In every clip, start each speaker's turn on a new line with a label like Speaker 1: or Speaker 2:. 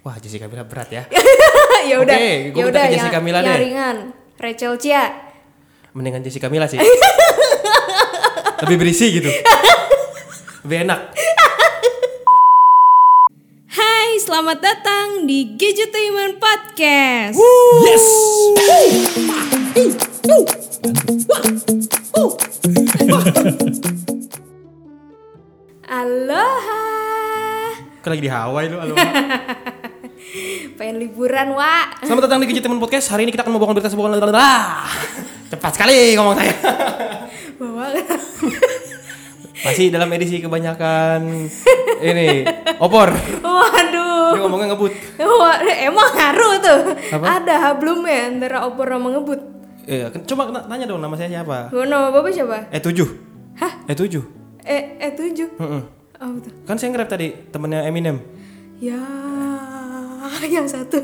Speaker 1: Wah Jessica Mila berat ya.
Speaker 2: ya udah.
Speaker 1: Oke, gua
Speaker 2: ya
Speaker 1: minta
Speaker 2: udah
Speaker 1: ke Jessica
Speaker 2: yang,
Speaker 1: Mila
Speaker 2: yang
Speaker 1: deh.
Speaker 2: ringan. Rachel Chia.
Speaker 1: Mendingan Jessica Mila sih. Lebih berisi gitu. Lebih enak.
Speaker 2: Hai, selamat datang di Gadgetainment Podcast.
Speaker 1: Yes.
Speaker 2: Aloha.
Speaker 1: Kau lagi di Hawaii lu. halo.
Speaker 2: Pengen liburan, Wak.
Speaker 1: Selamat datang di Gadget Teman Podcast. Hari ini kita akan membawakan berita sebuah Ah, Cepat sekali ngomong saya.
Speaker 2: Bawa.
Speaker 1: Masih dalam edisi kebanyakan ini opor.
Speaker 2: Waduh.
Speaker 1: Dia ngomongnya ngebut.
Speaker 2: Wah, emang ngaruh tuh.
Speaker 1: Apa?
Speaker 2: Ada hablumnya antara opor sama ngebut.
Speaker 1: Iya, kan- coba kena- tanya dong nama saya siapa?
Speaker 2: Gua nama bapak siapa?
Speaker 1: Eh 7. Hah? Eh 7.
Speaker 2: Eh, eh tujuh.
Speaker 1: Heeh.
Speaker 2: Oh, betul.
Speaker 1: Kan saya nge-rap tadi temennya Eminem.
Speaker 2: Ya, yang satu.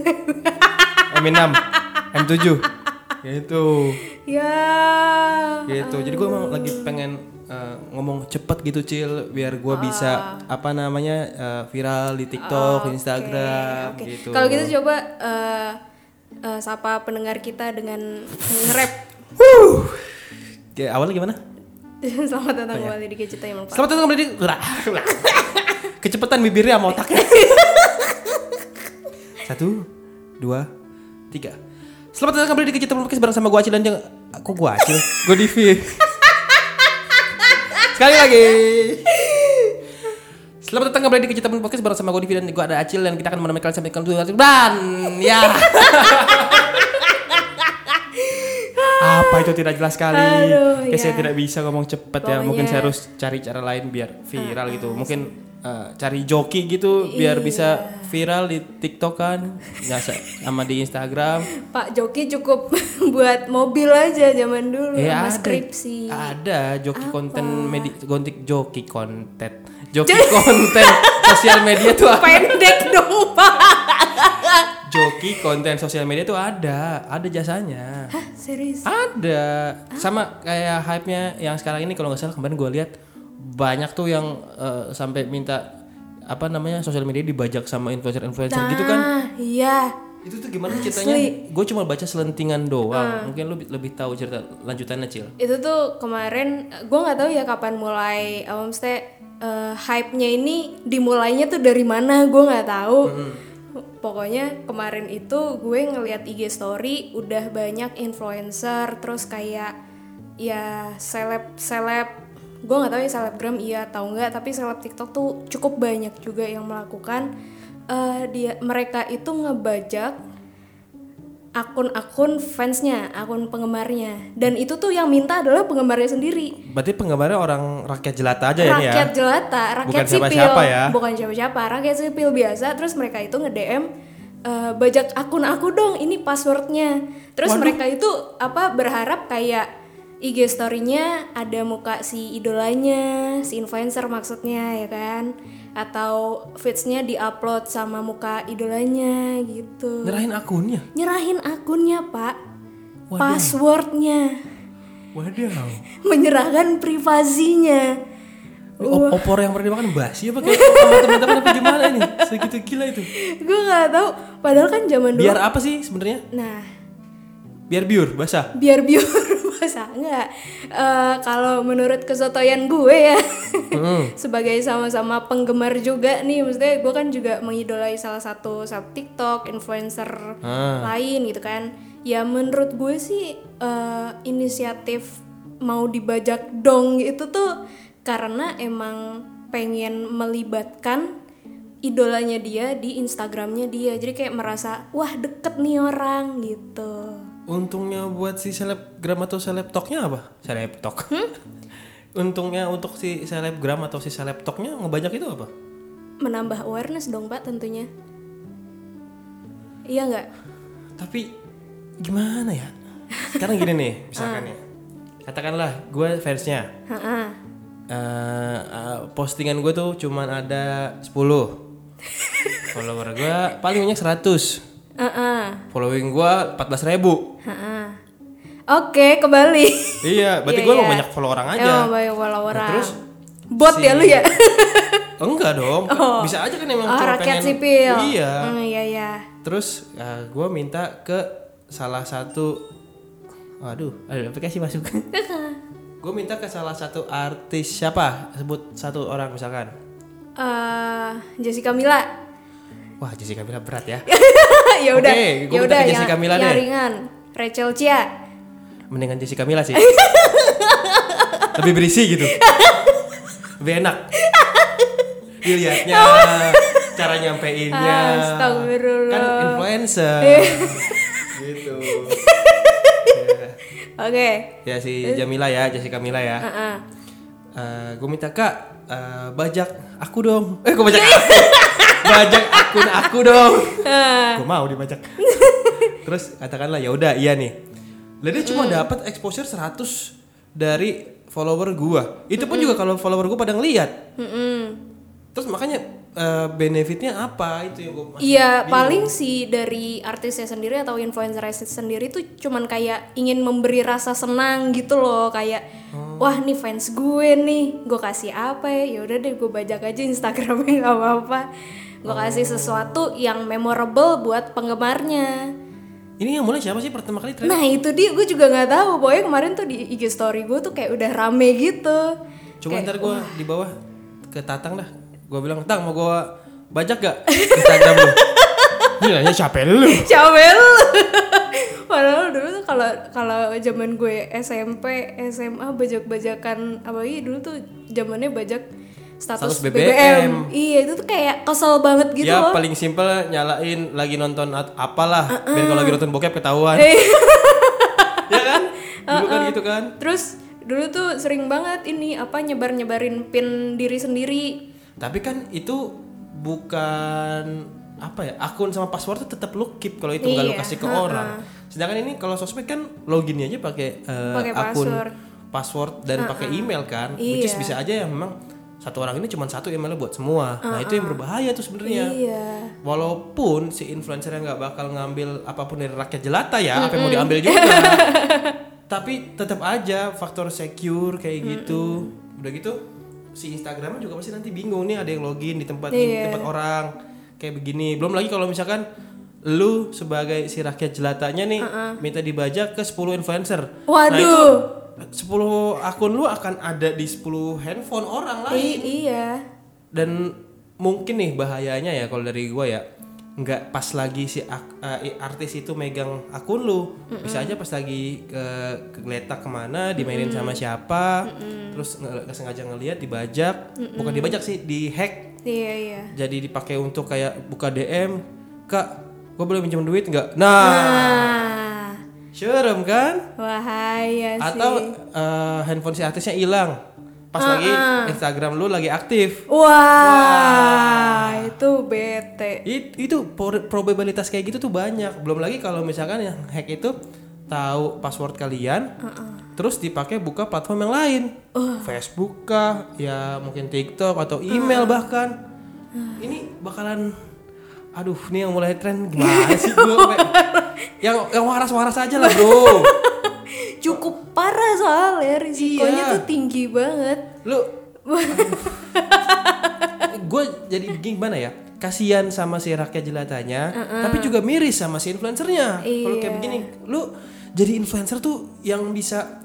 Speaker 1: M6, M7. Gitu.
Speaker 2: ya.
Speaker 1: Gitu. Jadi gue emang lagi pengen eh, ngomong cepet gitu Cil biar gue bisa apa namanya eh, viral di TikTok, Instagram
Speaker 2: Oke.
Speaker 1: gitu.
Speaker 2: Kalau gitu coba eh eh, sapa pendengar kita dengan nge-rap.
Speaker 1: Huh. Oke, awalnya gimana?
Speaker 2: Selamat
Speaker 1: Oh,
Speaker 2: datang
Speaker 1: iya.
Speaker 2: kembali di Gadget Time Pak.
Speaker 1: Selamat datang kembali di Lah, lah. Kecepetan bibirnya sama otaknya. Satu, dua, tiga. Selamat datang kembali di Kecepetan Podcast bareng sama gua Acil dan yang aku gua Acil. gua Divi. Sekali lagi. Selamat datang kembali di Kecepetan Podcast bareng sama gua Divi dan gua ada Acil dan kita akan menemani kalian sampai ke dan ya. Apa itu tidak jelas sekali.
Speaker 2: Aduh,
Speaker 1: Kayak saya
Speaker 2: ya.
Speaker 1: tidak bisa ngomong cepet ya. Mungkin
Speaker 2: Pokoknya- Ah,
Speaker 1: saya harus cari cara lain biar viral gitu. Mungkin eh, cari joki gitu biar
Speaker 2: Iya.
Speaker 1: bisa viral di TikTok kan, ya, sa- sama di Instagram.
Speaker 2: Pak Joki cukup buat mobil aja zaman dulu
Speaker 1: Ya,
Speaker 2: sama
Speaker 1: ada.
Speaker 2: skripsi.
Speaker 1: Ada joki konten media, gontik joki konten, joki konten sosial media tuh ada.
Speaker 2: Pendek dong, Pak.
Speaker 1: Joki konten sosial media tuh ada, ada jasanya.
Speaker 2: Hah, serius?
Speaker 1: Ada sama kayak hype-nya yang sekarang ini kalau nggak salah kemarin gue lihat banyak tuh yang eh, sampai minta apa namanya sosial media dibajak sama influencer-influencer gitu kan.
Speaker 2: Ah, iya.
Speaker 1: Itu tuh gimana ceritanya? Gue cuma baca selentingan doang. Mungkin lu bi- lebih tahu cerita lanjutannya, Cil.
Speaker 2: Itu tuh kemarin gue nggak tahu ya kapan mulai eh, maksudnya eh, hype-nya ini dimulainya tuh dari mana gue nggak tahu. Pokoknya kemarin itu gue ngelihat IG story udah banyak influencer terus kayak ya seleb seleb gue nggak tahu ya selebgram iya atau nggak tapi seleb TikTok tuh cukup banyak juga yang melakukan eh, dia mereka itu ngebajak akun-akun fansnya, akun penggemarnya, dan itu tuh yang minta adalah penggemarnya sendiri,
Speaker 1: Berarti penggemarnya orang rakyat jelata aja ini ya.
Speaker 2: rakyat jelata, rakyat
Speaker 1: Bukan
Speaker 2: sipil,
Speaker 1: siapa-siapa ya.
Speaker 2: bukan siapa-siapa, rakyat sipil biasa. Terus mereka itu nge DM bajak akun aku dong, ini passwordnya. Terus mereka itu apa berharap kayak IG story-nya ada muka si idolanya, si influencer maksudnya ya kan, atau feeds-nya diupload sama muka idolanya gitu
Speaker 1: Nyerahin akunnya.
Speaker 2: nyerahin akunnya pak
Speaker 1: Waduh.
Speaker 2: passwordnya
Speaker 1: Waduh.
Speaker 2: menyerahkan privasinya
Speaker 1: Ini op- opor yang pernah dimakan basi apa kayak sama teman-teman apa gimana ini? Segitu gila itu.
Speaker 2: gue nggak tahu padahal kan zaman dulu
Speaker 1: Biar apa sih sebenarnya?
Speaker 2: nah
Speaker 1: Biar biur, basah.
Speaker 2: biar biar masa nggak Eh, kalau menurut kesotoyan gue ya
Speaker 1: Hmm.
Speaker 2: sebagai sama-sama penggemar juga nih maksudnya gue kan juga mengidolai salah satu seleb TikTok influencer lain gitu kan ya menurut gue sih eh, inisiatif mau dibajak dong itu tuh karena emang pengen melibatkan idolanya dia di Instagramnya dia jadi kayak merasa wah deket nih orang gitu
Speaker 1: Untungnya buat si selebgram atau selebtoknya apa? Selebtok. Untungnya untuk si selebgram atau si selebtoknya ngebajak itu apa?
Speaker 2: menambah awareness dong pak tentunya iya nggak
Speaker 1: Tapi gimana ya? Sekarang gini nih,
Speaker 2: Ah.
Speaker 1: misalkan ya. Katakanlah gue fansnya.
Speaker 2: Ha-ha.
Speaker 1: Eh, eh, postingan gue tuh cuman ada 10 follower gue paling banyak 100
Speaker 2: Ha-ha.
Speaker 1: following gue 14.000 ribu
Speaker 2: Ha-ha. oke kembali
Speaker 1: iya berarti
Speaker 2: Iya,
Speaker 1: gue
Speaker 2: iya.
Speaker 1: banyak follow orang aja Nah,
Speaker 2: emang banyak follower orang
Speaker 1: terus
Speaker 2: bot
Speaker 1: si-
Speaker 2: ya lu ya
Speaker 1: enggak dong bisa aja kan emang
Speaker 2: oh
Speaker 1: cuma
Speaker 2: rakyat
Speaker 1: pengen
Speaker 2: sipil
Speaker 1: iya
Speaker 2: Hmm, iya iya
Speaker 1: terus eh, gue minta ke salah satu waduh ada aplikasi masuk gue minta ke salah satu artis siapa sebut satu orang misalkan
Speaker 2: Eh, Jessica Mila
Speaker 1: wah Jessica Mila berat ya
Speaker 2: ya udah
Speaker 1: Oke, gua
Speaker 2: ya
Speaker 1: minta
Speaker 2: udah
Speaker 1: ke
Speaker 2: yang,
Speaker 1: Jessica Mila
Speaker 2: yang
Speaker 1: deh.
Speaker 2: ringan Rachel Chia
Speaker 1: mendingan Jessica Mila sih lebih berisi gitu lebih enak dilihatnya cara nyampeinnya
Speaker 2: Astagfirullah.
Speaker 1: kan influencer gitu
Speaker 2: oke
Speaker 1: ya si Jamila ya Jessica Mila ya
Speaker 2: Ah, ah.
Speaker 1: gue minta kak eh, bajak aku dong eh gue bajak aku bajak akun aku dong gue mau dibajak terus katakanlah ya udah iya nih lah dia cuma dapat exposure 100 dari follower gua itu pun juga kalau follower gua pada ngeliat
Speaker 2: Mm-mm.
Speaker 1: terus makanya eh, benefitnya apa itu yang gue
Speaker 2: Iya paling sih dari artisnya sendiri atau influencer sendiri tuh cuman kayak ingin memberi rasa senang gitu loh kayak wah nih fans gue nih gue kasih apa ya ya udah deh gue bajak aja instagramnya nggak apa apa gue kasih sesuatu yang memorable buat penggemarnya
Speaker 1: ini yang mulai siapa sih pertama kali tren
Speaker 2: nah itu dia gue juga nggak tahu pokoknya kemarin tuh di IG story gue tuh kayak udah rame gitu
Speaker 1: Coba ntar gue di bawah ke Tatang dah. Gue bilang, Tang mau gue bajak gak? Instagram lu. Ini nanya siapa lu?
Speaker 2: Cabel. Padahal dulu tuh kalau kalau zaman gue SMP, SMA bajak-bajakan apalagi dulu tuh zamannya bajak status,
Speaker 1: Status
Speaker 2: BBM.
Speaker 1: BBM.
Speaker 2: Iya, itu tuh kayak kesel banget gitu
Speaker 1: ya
Speaker 2: loh.
Speaker 1: paling simpel nyalain lagi nonton at- apalah. Biar kalau lagi nonton bokep ketahuan. ya kan? Dulu kan gitu kan.
Speaker 2: Terus dulu tuh sering banget ini apa nyebar-nyebarin pin diri sendiri.
Speaker 1: Tapi kan itu bukan apa ya akun sama password tuh tetap lu keep kalau itu nggak lu
Speaker 2: Iya,
Speaker 1: kasih ke orang. Sedangkan ini kalau sosmed kan loginnya aja pakai eh,
Speaker 2: Pakai
Speaker 1: akun
Speaker 2: password.
Speaker 1: password dan pakai email kan, which is
Speaker 2: Iya.
Speaker 1: bisa aja ya memang satu orang ini cuma satu emailnya buat semua. Nah itu yang berbahaya tuh sebenarnya.
Speaker 2: Iya.
Speaker 1: Walaupun si influencer yang nggak bakal ngambil apapun dari rakyat jelata ya, apa yang mau diambil juga. Tapi tetap aja faktor secure kayak gitu. Udah gitu si Instagramnya juga pasti nanti bingung nih ada yang login di tempat di tempat orang kayak begini. Belum lagi kalau misalkan lu sebagai si rakyat jelatanya nih minta dibajak ke 10 influencer. Nah, itu
Speaker 2: Waduh.
Speaker 1: 10 akun lu akan ada di 10 handphone orang lain
Speaker 2: I- iya.
Speaker 1: dan mungkin nih bahayanya ya kalau dari gua ya nggak pas lagi si ak- eh, artis itu megang akun lu bisa aja pas lagi ke kegeletak kemana dimainin sama siapa terus nge- nggak sengaja ngelihat dibajak bukan dibajak sih dihack
Speaker 2: Iya, iya.
Speaker 1: jadi dipakai untuk kayak buka DM kak gua boleh minjem duit nggak nah,
Speaker 2: Nah,
Speaker 1: serem kan
Speaker 2: bahaya ya Iya sih.
Speaker 1: atau eh, handphone si artisnya hilang pas lagi Instagram lu lagi aktif
Speaker 2: Wah, itu bete.
Speaker 1: It- itu por- probabilitas kayak gitu tuh banyak. Belum lagi kalau misalkan yang hack itu tahu password kalian, terus dipakai buka platform yang lain, Facebook kah, ya mungkin TikTok atau email bahkan. Ini bakalan, aduh, ini yang mulai tren gimana sih gue? yang yang waras-waras aja lah bro.
Speaker 2: cukup parah soalnya risikonya
Speaker 1: Iya.
Speaker 2: tuh tinggi banget
Speaker 1: Lu, gue jadi gimana ya? Kasian sama si rakyat jelatanya, tapi juga miris sama si influencernya. Kalau kayak begini, lu jadi influencer tuh yang bisa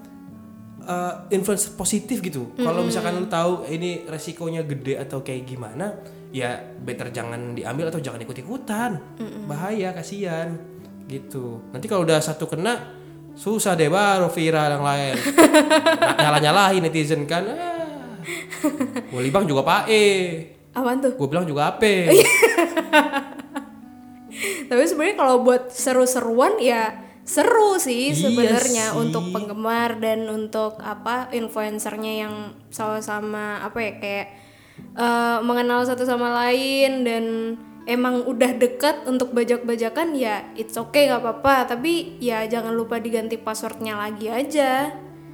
Speaker 1: uh, influencer positif gitu. Kalau misalkan lu tahu ini resikonya gede atau kayak gimana, ya better jangan diambil atau jangan ikut-ikutan. Bahaya kasihan gitu. Nanti kalau udah satu kena susah deh baru viral yang lain. Nyalah-nyalahin netizen kan. Ah. Gua libang juga Pak E.
Speaker 2: apaan tuh
Speaker 1: Gue bilang juga AP.
Speaker 2: tapi sebenarnya kalau buat seru-seruan ya seru
Speaker 1: Iya
Speaker 2: sih sebenarnya
Speaker 1: sih.
Speaker 2: untuk penggemar dan untuk apa influencernya yang sama-sama apa ya kayak eh, mengenal satu sama lain dan emang udah dekat untuk bajak-bajakan ya it's okay nggak apa-apa tapi ya jangan lupa diganti passwordnya lagi aja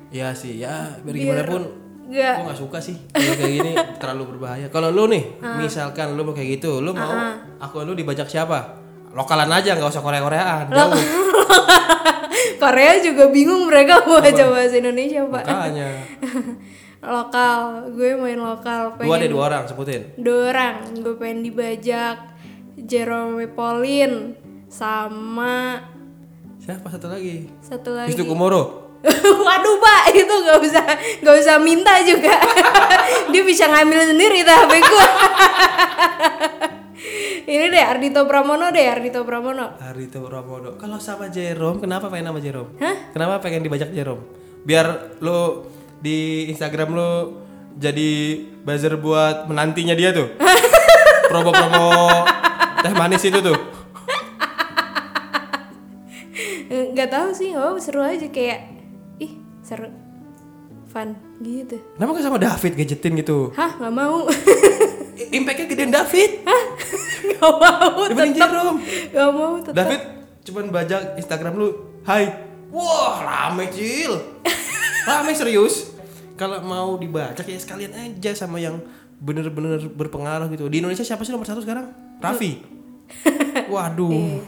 Speaker 1: Ya sih, ya biar gimana pun
Speaker 2: nggak
Speaker 1: gue gak suka sih kalau kayak gini terlalu berbahaya. Kalau lu nih,
Speaker 2: Ah.
Speaker 1: misalkan lu mau kayak gitu, lu mau akun lu dibajak siapa? Lokalan aja, nggak usah Korea-Koreaan. Jauh,
Speaker 2: Korea juga bingung mereka mau aja bahasa Indonesia pak
Speaker 1: makanya.
Speaker 2: lokal gue main
Speaker 1: Dua
Speaker 2: lokal pengen
Speaker 1: deh, dua orang sebutin.
Speaker 2: dorang gue pengen dibajak Jerome Pauline sama
Speaker 1: Siapa satu lagi?
Speaker 2: satu lagi
Speaker 1: Wisnu Kumoro.
Speaker 2: Waduh pak, itu nggak bisa nggak bisa minta juga. Dia bisa ngambil sendiri tapi gue. Ini deh Ardito Pramono deh Ardito Pramono.
Speaker 1: Harito Pramono. Kalau sama Jerome, kenapa pengen nama Jerome? Kenapa pengen dibajak Jerome? Biar lo di Instagram lo jadi buzzer buat menantinya dia tuh. Promo-promo teh manis itu tuh.
Speaker 2: Nggak tahu sih, oh seru aja kayak ih seru, fun gitu.
Speaker 1: Kenapa gak sama David gadgetin gitu?
Speaker 2: Hah nggak mau,
Speaker 1: I- Impactnya gedean David.
Speaker 2: nggak mau,
Speaker 1: Dibanding Jerome.
Speaker 2: nggak mau tetap.
Speaker 1: David cuman bajak Instagram lu. Hai. Wah, rame cil. rame serius. Kalau mau dibajak ya sekalian aja sama yang bener-bener berpengaruh gitu. Di Indonesia siapa sih nomor satu sekarang? Raffi. Waduh.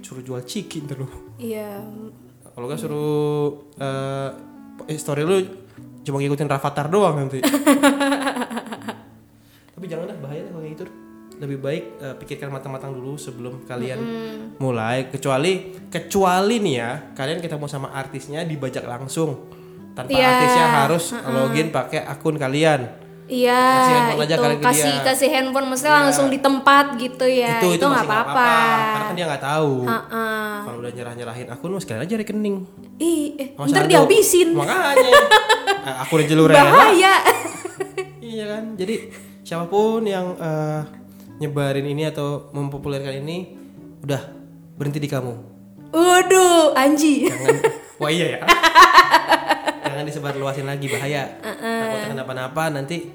Speaker 1: Suruh jual chicken terus.
Speaker 2: Iya,
Speaker 1: Kalau gak suruh eh eh, story lu cuma ngikutin Rafathar doang nanti. Tapi jangan lah bahaya lah kalau kayak gitu. Lebih baik eh, pikirkan matang-matang dulu sebelum kalian mulai. Kecuali kecuali nih ya, kalian ketemu sama artisnya dibajak langsung. Tanpa
Speaker 2: Iya,
Speaker 1: artisnya harus login pakai akun kalian.
Speaker 2: iya.
Speaker 1: Kasih handphone aja
Speaker 2: itu.
Speaker 1: kali ke
Speaker 2: kasih
Speaker 1: dia. Iya.
Speaker 2: kasih handphone mesti langsung di tempat gitu ya. Itu
Speaker 1: masih nggak
Speaker 2: nggak apa-apa.
Speaker 1: Karena kan dia nggak tahu.
Speaker 2: Heeh.
Speaker 1: Kalau udah nyerah-nyerahin akun lu sekalian aja rekening.
Speaker 2: Ih, eh,
Speaker 1: Sama
Speaker 2: ntar
Speaker 1: Sardo.
Speaker 2: dihabisin.
Speaker 1: Makanya. Eh, akun jeluren.
Speaker 2: Bahaya.
Speaker 1: Iya kan, jadi siapapun yang eh, nyebarin ini atau mempopulerkan ini, udah berhenti di kamu.
Speaker 2: Waduh, Anji.
Speaker 1: Jangan, wah iya ya. Jangan disebar luasin lagi bahaya. Takutnya kenapa-napa nanti,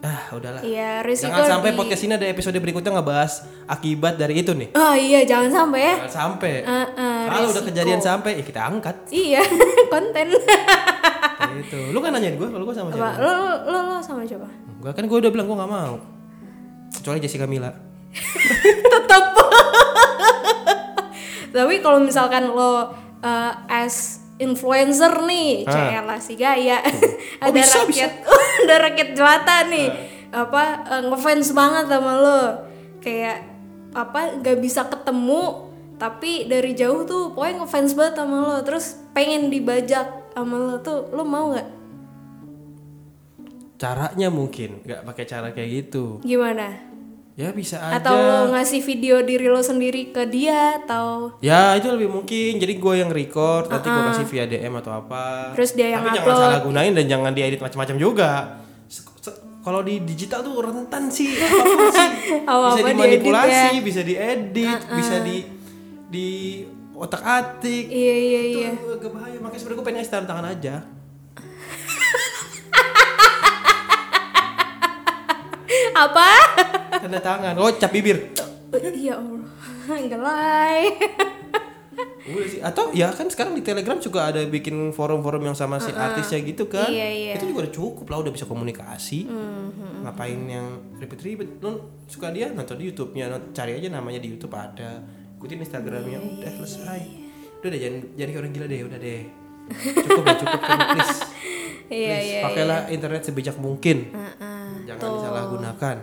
Speaker 1: ah udahlah.
Speaker 2: Iya, risiko
Speaker 1: Jangan sampai
Speaker 2: di-
Speaker 1: podcast ini ada episode berikutnya ngebahas akibat dari itu nih.
Speaker 2: Oh iya, jangan sampai ya.
Speaker 1: Jangan sampai.
Speaker 2: Heeh,
Speaker 1: Kalau udah
Speaker 2: risiko.
Speaker 1: kejadian sampai, ya kita angkat.
Speaker 2: Iya, konten.
Speaker 1: gitu. Lu kan nanyain gue, kalau gue sama
Speaker 2: Apa,
Speaker 1: siapa?
Speaker 2: lo, lo, lo, lo sama siapa?
Speaker 1: Gue kan gue udah bilang gue nggak mau. Kecuali Jessica Mila.
Speaker 2: Tetep. Tapi kalau misalkan lo eh, as influencer nih,
Speaker 1: Ah.
Speaker 2: CL lah si gaya.
Speaker 1: Oh,
Speaker 2: ada
Speaker 1: bisa, Ah.
Speaker 2: rakyat, ada rakyat jelata nih. Apa eh, ngefans banget sama lo. Kayak apa nggak bisa ketemu tapi dari jauh tuh pokoknya ngefans banget sama lo terus pengen dibajak sama lo tuh lo mau nggak
Speaker 1: Caranya mungkin, nggak pakai cara kayak gitu.
Speaker 2: gimana
Speaker 1: Ya bisa aja.
Speaker 2: atau lo ngasih video diri lo sendiri ke dia atau
Speaker 1: Ya itu lebih mungkin. Jadi gue yang record, nanti gue kasih via DM atau apa.
Speaker 2: Uh-uh. Terus dia yang
Speaker 1: Tapi jangan
Speaker 2: upload.
Speaker 1: salah gunain dan jangan diedit macam-macam juga. Se- se- Kalau di digital tuh rentan sih. apapun sih.
Speaker 2: Apa-apa ya.
Speaker 1: bisa
Speaker 2: diedit
Speaker 1: dimanipulasi, bisa diedit,
Speaker 2: Uh-uh.
Speaker 1: bisa di di otak atik.
Speaker 2: iya iya
Speaker 1: Itu
Speaker 2: iya
Speaker 1: agak bahaya. Makanya sebenarnya gue pengen ngasih tangan tangan aja.
Speaker 2: apa
Speaker 1: Tanda tangan, oh cap bibir.
Speaker 2: ya allah gelai
Speaker 1: Udah sih. Atau ya kan sekarang di Telegram juga ada bikin forum-forum yang sama si artisnya gitu kan.
Speaker 2: Iya, iya. Mm-hmm.
Speaker 1: Itu juga udah cukup lah udah bisa komunikasi. Ngapain yang ribet-ribet? Lu suka dia nonton di YouTube-nya, nont- cari aja namanya di YouTube ada. Ikutin
Speaker 2: Iya,
Speaker 1: Instagramnya, udah selesai. Udah deh jangan jangan kayak orang gila deh, udah deh. Cukup ya, cukup kan, please.
Speaker 2: iya
Speaker 1: Please,
Speaker 2: iya
Speaker 1: pakailah internet sebijak mungkin.
Speaker 2: Heeh,
Speaker 1: Jangan disalahgunakan.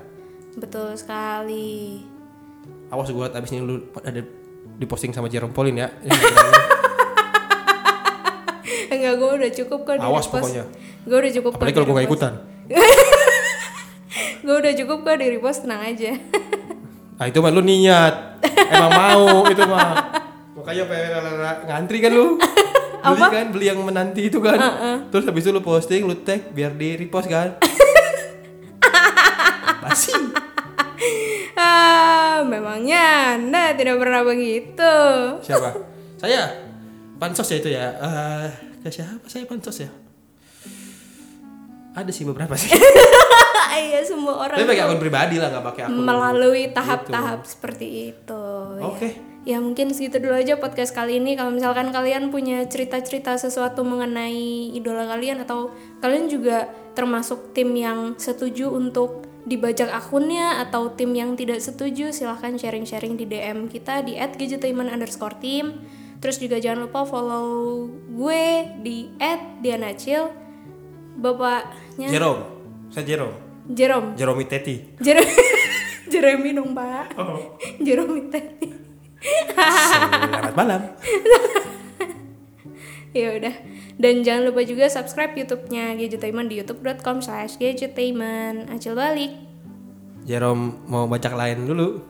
Speaker 2: betul sekali
Speaker 1: Awas gue abis ini lu ada diposting sama Jerome Polin ya.
Speaker 2: enggak gue udah cukup kok di
Speaker 1: Awas
Speaker 2: repost.
Speaker 1: pokoknya.
Speaker 2: gue udah cukup
Speaker 1: Apalagi kalau gue gak ikutan.
Speaker 2: gue udah cukup kok di repost tenang aja
Speaker 1: Ah itu mah lu niat. Emang mau itu mah. Makanya pengen rela-rela ngantri kan lu. Beli kan beli yang menanti itu kan. Terus habis itu lu posting, lu tag biar di repost kan. Basi.
Speaker 2: ah memangnya anda tidak pernah begitu
Speaker 1: Siapa? Saya. Pansos ya itu ya. Eh, ke siapa saya pansos ya? Ada sih beberapa sih.
Speaker 2: iya semua orang
Speaker 1: Tapi Gitu. pakai akun pribadi lah, nggak pakai akun.
Speaker 2: melalui tahap-tahap seperti itu. ya.
Speaker 1: Oke.
Speaker 2: Ya. mungkin segitu dulu aja podcast kali ini. Kalau misalkan kalian punya cerita-cerita sesuatu mengenai idola kalian atau kalian juga termasuk tim yang setuju untuk dibajak akunnya atau tim yang tidak setuju silahkan sharing-sharing di DM kita di @gadgetainment underscore team terus juga jangan lupa follow gue di @dianacil bapaknya
Speaker 1: Jerome. Saya Jerome.
Speaker 2: Jerome
Speaker 1: Jerome Teti. Oh.
Speaker 2: Jeremy, Jeremy dong pak Jeremy Teti
Speaker 1: Selamat malam.
Speaker 2: ya udah dan jangan lupa juga subscribe YouTube-nya Gadgetainment di youtube.com slash gadgetainment acil balik
Speaker 1: Jerome mau baca lain dulu.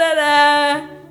Speaker 2: dadah